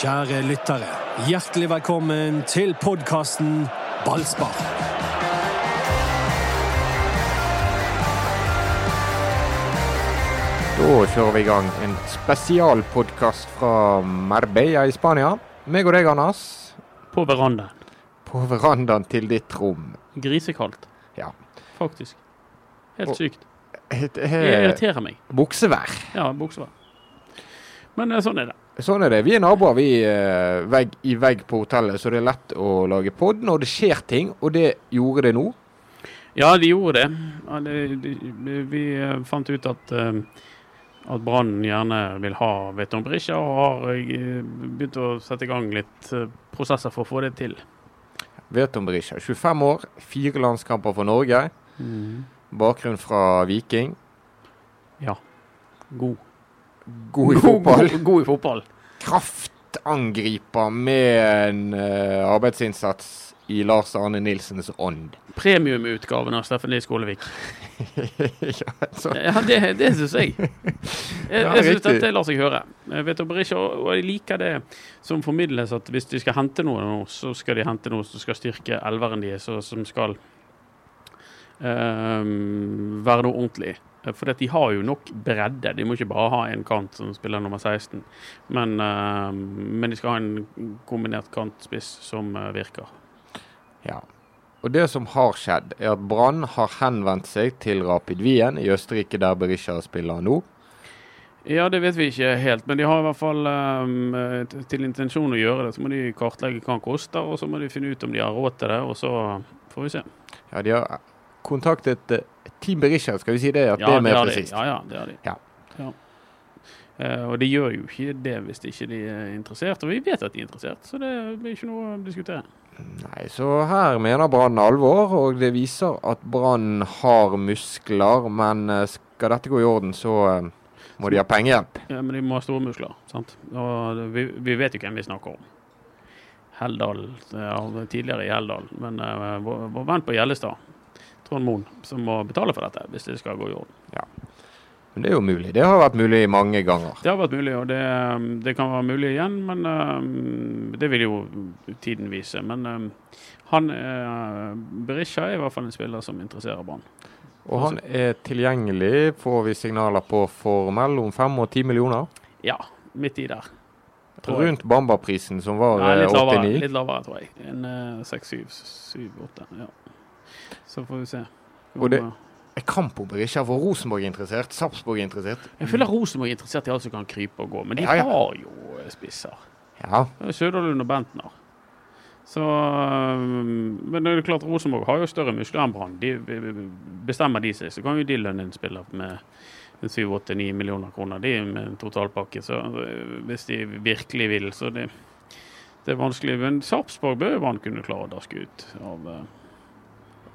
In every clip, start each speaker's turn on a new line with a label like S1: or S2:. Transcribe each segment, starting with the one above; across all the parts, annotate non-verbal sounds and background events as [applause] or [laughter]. S1: Kjære lyttere, hjertelig velkommen til podkasten Ballspar.
S2: Da kjører vi i gang en spesialpodkast fra Marbella i Spania. Meg og deg, Anders,
S3: På verandaen.
S2: på verandaen til ditt rom.
S3: Grisekaldt,
S2: Ja.
S3: faktisk.
S2: Og-
S3: Helt sykt.
S2: Et,
S3: Det
S2: eh,
S3: irriterer meg.
S2: buksevær.
S3: Ja, buksevær. Men eh, sånn er det.
S2: Sånn er det. Vi er naboer, vi, eh, vegg i vegg på hotellet, så det er lett å lage pod når det skjer ting, og det gjorde det nå.
S3: Ja, de gjorde det. Ja, det, det vi eh, fant ut at eh, at Brann gjerne vil ha Veton Brisja, og har eh, begynt å sette i gang litt eh, prosesser for å få det til.
S2: Vet om Berisha. 25 år, fire landskamper for Norge. Mm. Bakgrunn fra Viking.
S3: God.
S2: God i fotball.
S3: [laughs] God, god i fotball.
S2: Kraftangriper med en eh, arbeidsinnsats i Lars Arne Nilsens ånd.
S3: Premiumutgaven av Steffen Lie Skålevik.
S2: [laughs] ja, så.
S3: Ja, det, det syns
S2: [laughs]
S3: jeg. Jeg,
S2: Altså. Ja,
S3: jeg syns
S2: riktig.
S3: dette lar seg høre. Jeg vet dere ikke, og og jeg liker det som formidles, at hvis de skal hente noe nå, så skal de hente noe som skal styrke elveren deres, og som skal ehm, være noe ordentlig. Eh, For at de har jo nok bredde. De må ikke bare ha en kant som spiller nummer 16, men, ehm, men de skal ha en kombinert kantspiss som eh, virker.
S2: Ja. Og det som har skjedd, er at Brann har henvendt seg til Rapid Wien i Østerrike, der Berisha spiller nå.
S3: Ja, det vet vi ikke helt, men de har i hvert fall ehm, t- til intensjon å gjøre det. Så må de kartlegge hva den koster, og så må de finne ut om de har råd til det, og så får vi se.
S2: Ja, de har kontaktet eh, Team Berisha, skal vi si det? At det er mer
S3: har de.
S2: presist.
S3: Ja, ja, det har de.
S2: Ja.
S3: Ja. Eh, og de gjør jo ikke det hvis de ikke de er interessert, og vi vet at de er interessert, så det blir ikke noe å diskutere.
S2: Nei, så her mener Brann alvor, og det viser at Brann har muskler. Men eh, skal dette gå i orden, så eh, må de ha pengehjelp.
S3: Ja, men de må ha store muskler, sant? Og det- vi, vi vet jo hvem vi snakker om. Helldal, ja, tidligere i Helldal, men eh, vår, vår venn på Gjellestad, Trond Moen, som må betale for dette hvis det skal gå i orden.
S2: Men det er jo mulig. Det har vært mulig mange ganger.
S3: Det har vært mulig, og det, um, det kan være mulig igjen. Men øhm, det vil jo tiden vise. Men øhm, han uh, Berisha er i hvert fall en spiller som interesserer Brann.
S2: Og han er tilgjengelig, får vi signaler på, for mellom fem og ti millioner.
S3: Ja, midt i der. tror jeg.
S2: Rundt Bamba-prisen, som var
S3: Nei,
S2: eh,
S3: litt lavere,
S2: 89.
S3: litt lavere, tror jeg. En eh, seks, syv, syv, åtte. Ja. Så får vi se.
S2: Og det- Jeg kan på Berisha, for Rosenborg er interessert, Sarpsborg er interessert.
S3: Jeg føler Rosenborg er interessert i alt som kan krype og gå, men de
S2: Ja, ja.
S3: har jo eh, spisser.
S2: Ja,
S3: Det er Søderlund og Bentner. Så, øhm, men det er klart Rosenborg har jo større muskler enn Brann. De, bestemmer de seg, så kan jo de lønne en spiller med 7-8-9 millioner kroner. De med en totalpakke, så øh, hvis de virkelig vil. Så det, det er vanskelig. Men Sarpsborg bør jo Brann kunne klare å daske ut av øh,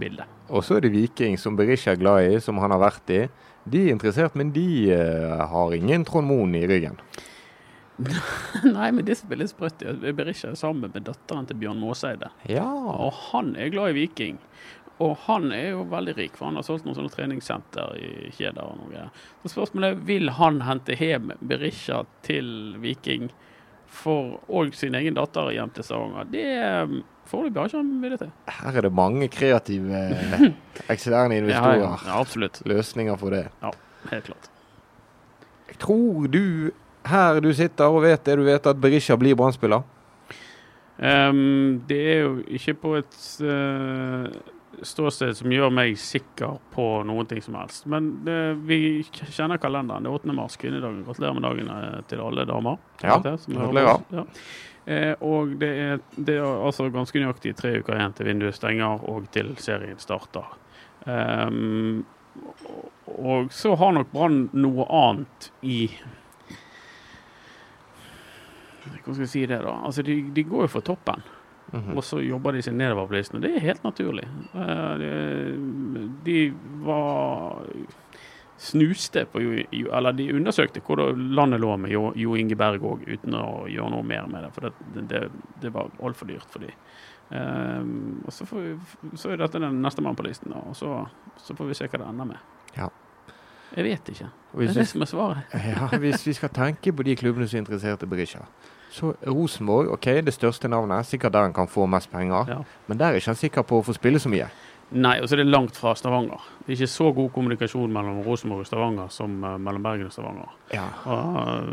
S3: bildet.
S2: og så er det Viking, som Berisha er glad i, som han har vært i. De er interessert, men de eh, har ingen Trond Moen i ryggen.
S3: [laughs] Nei, men det som er litt sprøtt, er at Berisha er sammen med datteren til Bjørn Maaseide.
S2: Ja.
S3: Og han er glad i Viking. Og han er jo veldig rik, for han har solgt noen sånne treningssenter i kjeder og noe greier. Så spørsmålet er, vil han hente hjem Berisha til Viking for og sin egen datter hjem til Stavanger? Det eh, foreløpig har ikke han vilje til.
S2: Her er det mange kreative [laughs] eh, eksterne investorer.
S3: ja, ja, absolutt.
S2: Løsninger for det.
S3: Helt klart.
S2: Jeg tror du, her du sitter og vet det du vet, at Berisha blir brannspiller.
S3: Ehm, det er jo ikke på et eh, ståsted som gjør meg sikker på noen ting som helst. Men eh, vi kjenner kalenderen. Det er 8. mars, kvinnedagen. Gratulerer med dagen eh, til alle damer.
S2: Ja,
S3: vet jeg, som hører
S2: gratulerer.
S3: på oss. Ja. Eh, og det er, det er altså ganske nøyaktig tre uker igjen til vinduet stenger og til serien starter. Ehm, og- og så har nok Brann noe annet i Hvordan skal jeg si det, da? Altså, de, de går jo for toppen. Og så jobber de seg nedover på listen, og det er helt naturlig. Eh, det- De var snuste på jo, jo- Eller de undersøkte hvor da landet lå med Jo, jo Inge Berg òg, uten å gjøre noe mer med det. For det, det, det var altfor dyrt for de. Eh, og så, får vi, så er dette den neste mann på listen, da, og så, så får vi se hva det ender med.
S2: Ja.
S3: Jeg vet ikke.
S2: Og
S3: Det er
S2: Hvis,
S3: det
S2: vi-
S3: som er svaret.
S2: ja, hvis vi skal tenke på de klubbene som er interessert i Berisha, Så Rosenborg, ok, det største navnet. Sikkert der han kan få mest penger.
S3: Ja.
S2: Men der er ikke han sikker på å få spille så mye.
S3: Nei, og så er det langt fra Stavanger. Det er ikke så god kommunikasjon mellom Rosenborg og Stavanger som eh, mellom Bergen og Stavanger.
S2: Ja.
S3: Og, eh,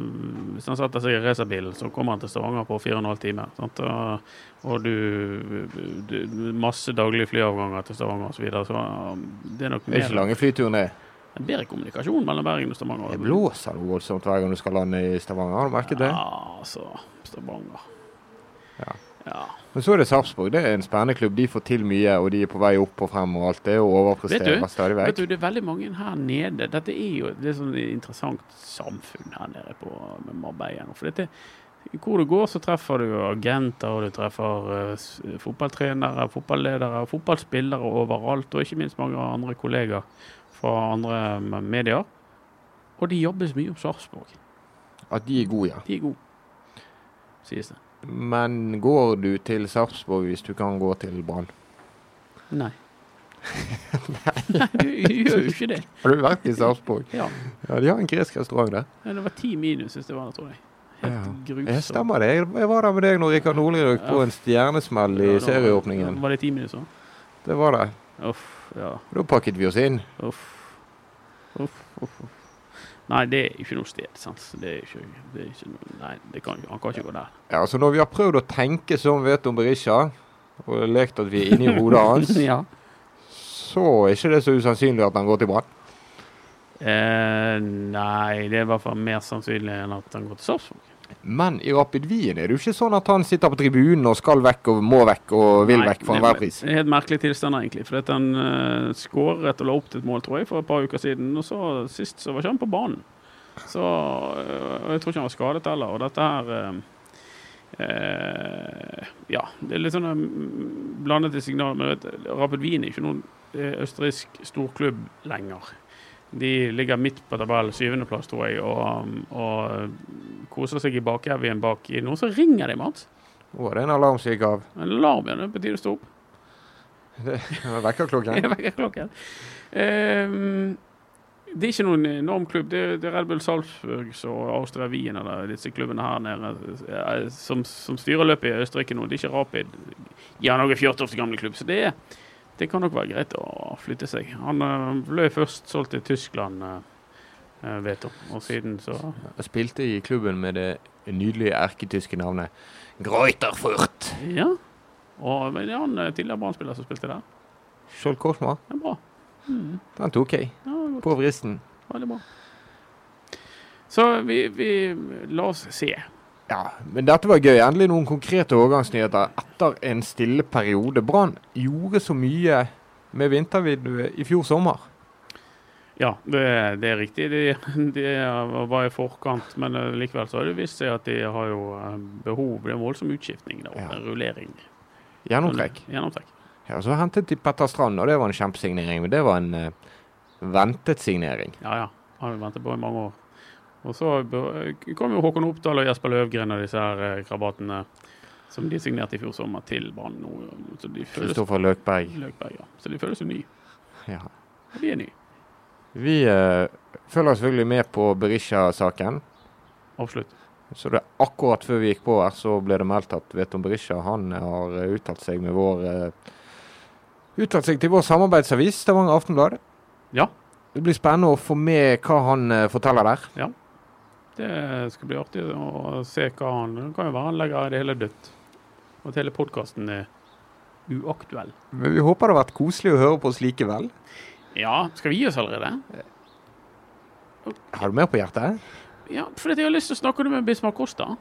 S3: hvis han setter seg i racerbilen, så kommer han til Stavanger på fire og en halv time. Sant? Og, og du, du Masse daglige flyavganger til Stavanger osv. Så, videre, så eh, det er nok
S2: Det er ikke
S3: mer,
S2: lange flyturen, det.
S3: bedre kommunikasjon mellom Bergen og Stavanger.
S2: Det blåser noe voldsomt hver gang du skal lande i Stavanger, har du merket det?
S3: Ja, altså Stavanger.
S2: Ja.
S3: ja.
S2: Men så er det Sarpsborg. Det er en spennende klubb. De får til mye, og de er på vei opp og frem og alt det, og
S3: Vet
S2: overpresterer
S3: du-
S2: stadig
S3: Vet
S2: vekk.
S3: du, Det er veldig mange her nede. Dette er jo et litt sånn interessant samfunn her nede på med Marbella. nå, For dette, hvor du går, så treffer du agenter, og du treffer eh, s- fotballtrenere, fotballedere, fotballspillere overalt, og ikke minst mange andre kollegaer fra andre mm, medier. Og det jobbes mye om Sarpsborg.
S2: At de er gode, ja.
S3: De er gode, sies det.
S2: Men går du til Sarpsborg hvis du kan gå til Brann?
S3: Nei. [laughs] Nei, du gjør jo ikke det.
S2: Har du vært i Sarpsborg?
S3: Ja.
S2: Ja, de har en gresk restaurant der.
S3: Nei, Det var ti minus, hvis det var det, tror jeg. Helt
S2: Ja.
S3: grusomt.
S2: Jeg stemmer det. Jeg- Jeg var der med deg når Rikard Nordli røk på en stjernesmell
S3: Ja,
S2: i
S3: da-
S2: serieåpningen.
S3: Var det ti minus òg?
S2: Det var det.
S3: Uff, ja.
S2: Da pakket vi oss inn.
S3: Uff. Uff, uff, uff. Nei, det er ikke noe sted, sant. Det er ikke, det er ikke noe, Nei, det kan, han kan ikke gå der.
S2: Ja, så når vi har prøvd å tenke som vi vet om Berisha, og lekt at vi er inni hodet hans,
S3: [laughs] ja.
S2: så er ikke det så usannsynlig at han går til Brann.
S3: Eh, nei, det er i hvert fall mer sannsynlig enn at han går til Sarpsborg.
S2: Men i Rapid Wien er det jo ikke sånn at han sitter på tribunen og skal vekk og må vekk og vil
S3: Nei,
S2: vekk for
S3: det-
S2: enhver pris.
S3: Det er helt merkelig tilstander, egentlig. For at han eh, skåret og la opp til et mål, tror jeg, for et par uker siden. Og så sist så var ikke han på banen. Så eh, Og jeg tror ikke han var skadet heller. Og dette her eh, eh, Ja, det er litt sånn eh, blandede signaler. Men du vet, Rapid Wien er ikke noen eh, østerriksk storklubb lenger. De ligger midt på tabellen, syvendeplass, tror jeg, og, og koser seg i bakevjen bak i noen. Så ringer de, Mats.
S2: Å, det er en alarm som gikk av.
S3: Alarmen er på tide å stå opp.
S2: Det vekker klokken.
S3: Jeg vekker klokken. Ehm, det er ikke noen enorm klubb. Det, er- det er Red Bull Salzburg og Austria Wien eller disse klubbene her nede eh, som, som styrer løpet i Østerrike nå. Det er ikke Rapid. Ja, noe 14 år gamle klubb. Så det, er- det kan nok være greit å flytte seg. Han eh, ble først solgt til Tyskland, eh, eh, vet du. Og siden så
S2: Jeg spilte i klubben med det nydelige erketyske navnet Greuterfurt.
S3: Ja. Og men det er han eh, tidligere Brann-spiller som spilte der.
S2: Skjold Korsma,
S3: Det er bra. Mm.
S2: den tok jeg.
S3: Ja, det er godt.
S2: På vristen.
S3: Veldig bra. Så vi, vi La oss se.
S2: Ja, men dette var gøy. Endelig noen konkrete overgangsnyheter etter en stille periode. Brann gjorde så mye med vintervinduet i fjor sommer.
S3: Ja, det, det er riktig. De, de var i forkant, men eh, likevel så har det vist seg at de har jo eh, behov. Det er voldsom utskiftning der oppe.
S2: Ja.
S3: Rullering.
S2: Gjennomtrekk.
S3: Gjennomtrekk.
S2: Ja, så hentet de Petter Strand, og det var en kjempesignering. Men det var en eh, ventet signering.
S3: Ja, ja. Har vi ventet på i mange år. Og så be- kom jo Håkon Oppdal og Jesper Løvgren og disse her eh, krabatene som de signerte i fjor sommer, til Brann nå. Så de føles
S2: Kristoffer Løkberg.
S3: Løkberg, ja. Så de føles jo nye.
S2: Ja.
S3: Og de er nye.
S2: Vi eh, følger selvfølgelig med på Berisha-saken.
S3: Absolutt.
S2: Så det er akkurat før vi gikk på her, så ble det meldt at Veton Berisha han har eh, uttalt seg med vår eh, Uttalt seg til vår samarbeidsavis, Stavanger Aftenblad.
S3: Ja.
S2: Det blir spennende å få med hva han eh, forteller der.
S3: Det skal bli artig å se hva han Det kan jo være han legger det hele dødt. Og at hele podkasten er uaktuell.
S2: Men vi håper det har vært koselig å høre på oss likevel.
S3: Ja, skal vi gi oss allerede?
S2: Har du mer på hjertet?
S3: Ja, for jeg har lyst til å snakke med Bismar Costa,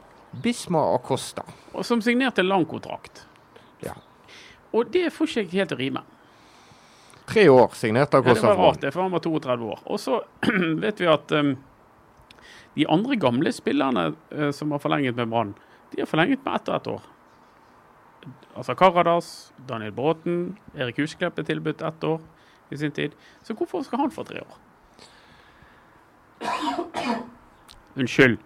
S2: Bismar Acosta.
S3: og som signerte lang kontrakt.
S2: Ja.
S3: Og det får ikke jeg helt til å rime.
S2: Tre år signerte
S3: Ja, det
S2: Acosta
S3: var
S2: for
S3: rart, det, for han var 32 år. Og så [clears throat] vet vi at um, de andre gamle spillerne eh, som har forlenget med Brann, de har forlenget med ett og ett år. Altså Karadas, Daniel Bråten, Erik Husklepp er tilbudt ett år i sin tid. Så hvorfor skal han få tre år? Unnskyld.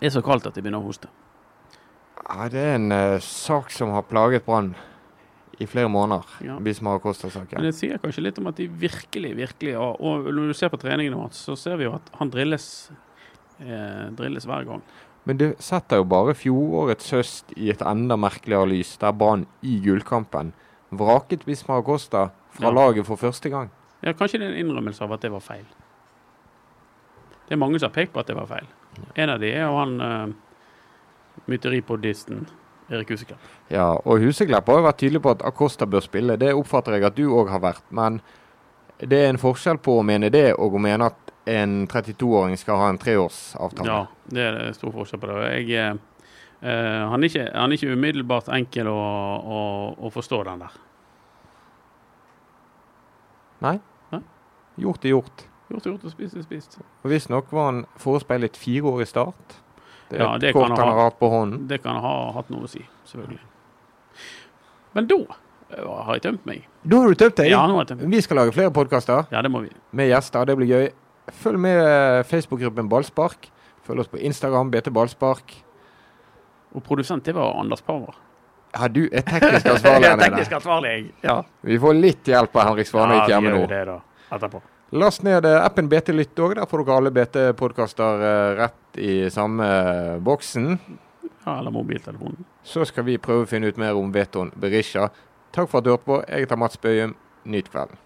S3: Det er så kaldt at jeg begynner å hoste.
S2: Ja, det er en eh, sak som har plaget Brann i flere måneder.
S3: Ja.
S2: Bismar Acosta-saken.
S3: Men det sier kanskje litt om at de virkelig, virkelig har Og når du ser på treningene hans, så ser vi jo at han drilles, eh, drilles hver gang.
S2: Men det setter jo bare fjorårets høst i et enda merkeligere lys, der Brann i gullkampen vraket Bismar Costa fra
S3: Ja.
S2: laget for første gang.
S3: Ja, kanskje det er en innrømmelse av at det var feil. Det er mange som har pekt på at det var feil. En av de er jo han uh, myteripodisten Erik Huseklepp.
S2: Ja, og Huseklepp har jo vært tydelig på at Acosta bør spille. Det oppfatter jeg at du òg har vært. Men det er en forskjell på å mene det og å mene at en 32-åring skal ha en treårsavtale.
S3: Ja, det er det stor forskjell på det. Og Jeg, eh, eh, han, er ikke, han er ikke umiddelbart enkel å, å, å forstå, den der.
S2: Nei?
S3: Hæ?
S2: Gjort er gjort.
S3: Gjort, gjort og spist er spist.
S2: Og Visstnok var han forespeilet fire år i start. Det er
S3: Ja, det
S2: et
S3: kan
S2: kort
S3: han
S2: han
S3: ha.
S2: har hatt på hånden.
S3: Det kan ha hatt noe å si, selvfølgelig. Men da eh, har jeg tømt meg.
S2: Da har du tømt deg!
S3: Ja, nå har jeg tømt meg.
S2: Vi skal lage flere podkaster
S3: Ja, det må vi.
S2: med gjester. Det blir gøy. Følg med eh, Facebook-gruppen Ballspark. Følg oss på Instagram, BT Ballspark.
S3: Og produsent, det var Anders Power.
S2: Ja, du er teknisk
S3: [laughs]
S2: ansvarlig.
S3: Jeg er
S2: her nede.
S3: teknisk ansvarlig, jeg. Ja.
S2: Vi får litt hjelp av Henrik Svanøyk
S3: vi
S2: hjemme
S3: gjør
S2: nå.
S3: jo det da, etterpå.
S2: Last ned eh, appen BT Lytt òg. Der får dere alle BT-podkaster eh, rett i samme eh, boksen.
S3: Ja, eller mobiltelefonen.
S2: Så skal vi prøve å finne ut mer om vetoen Berisha. Takk for at du hørte på. Jeg heter Mats Bøyum. Nyt kvelden.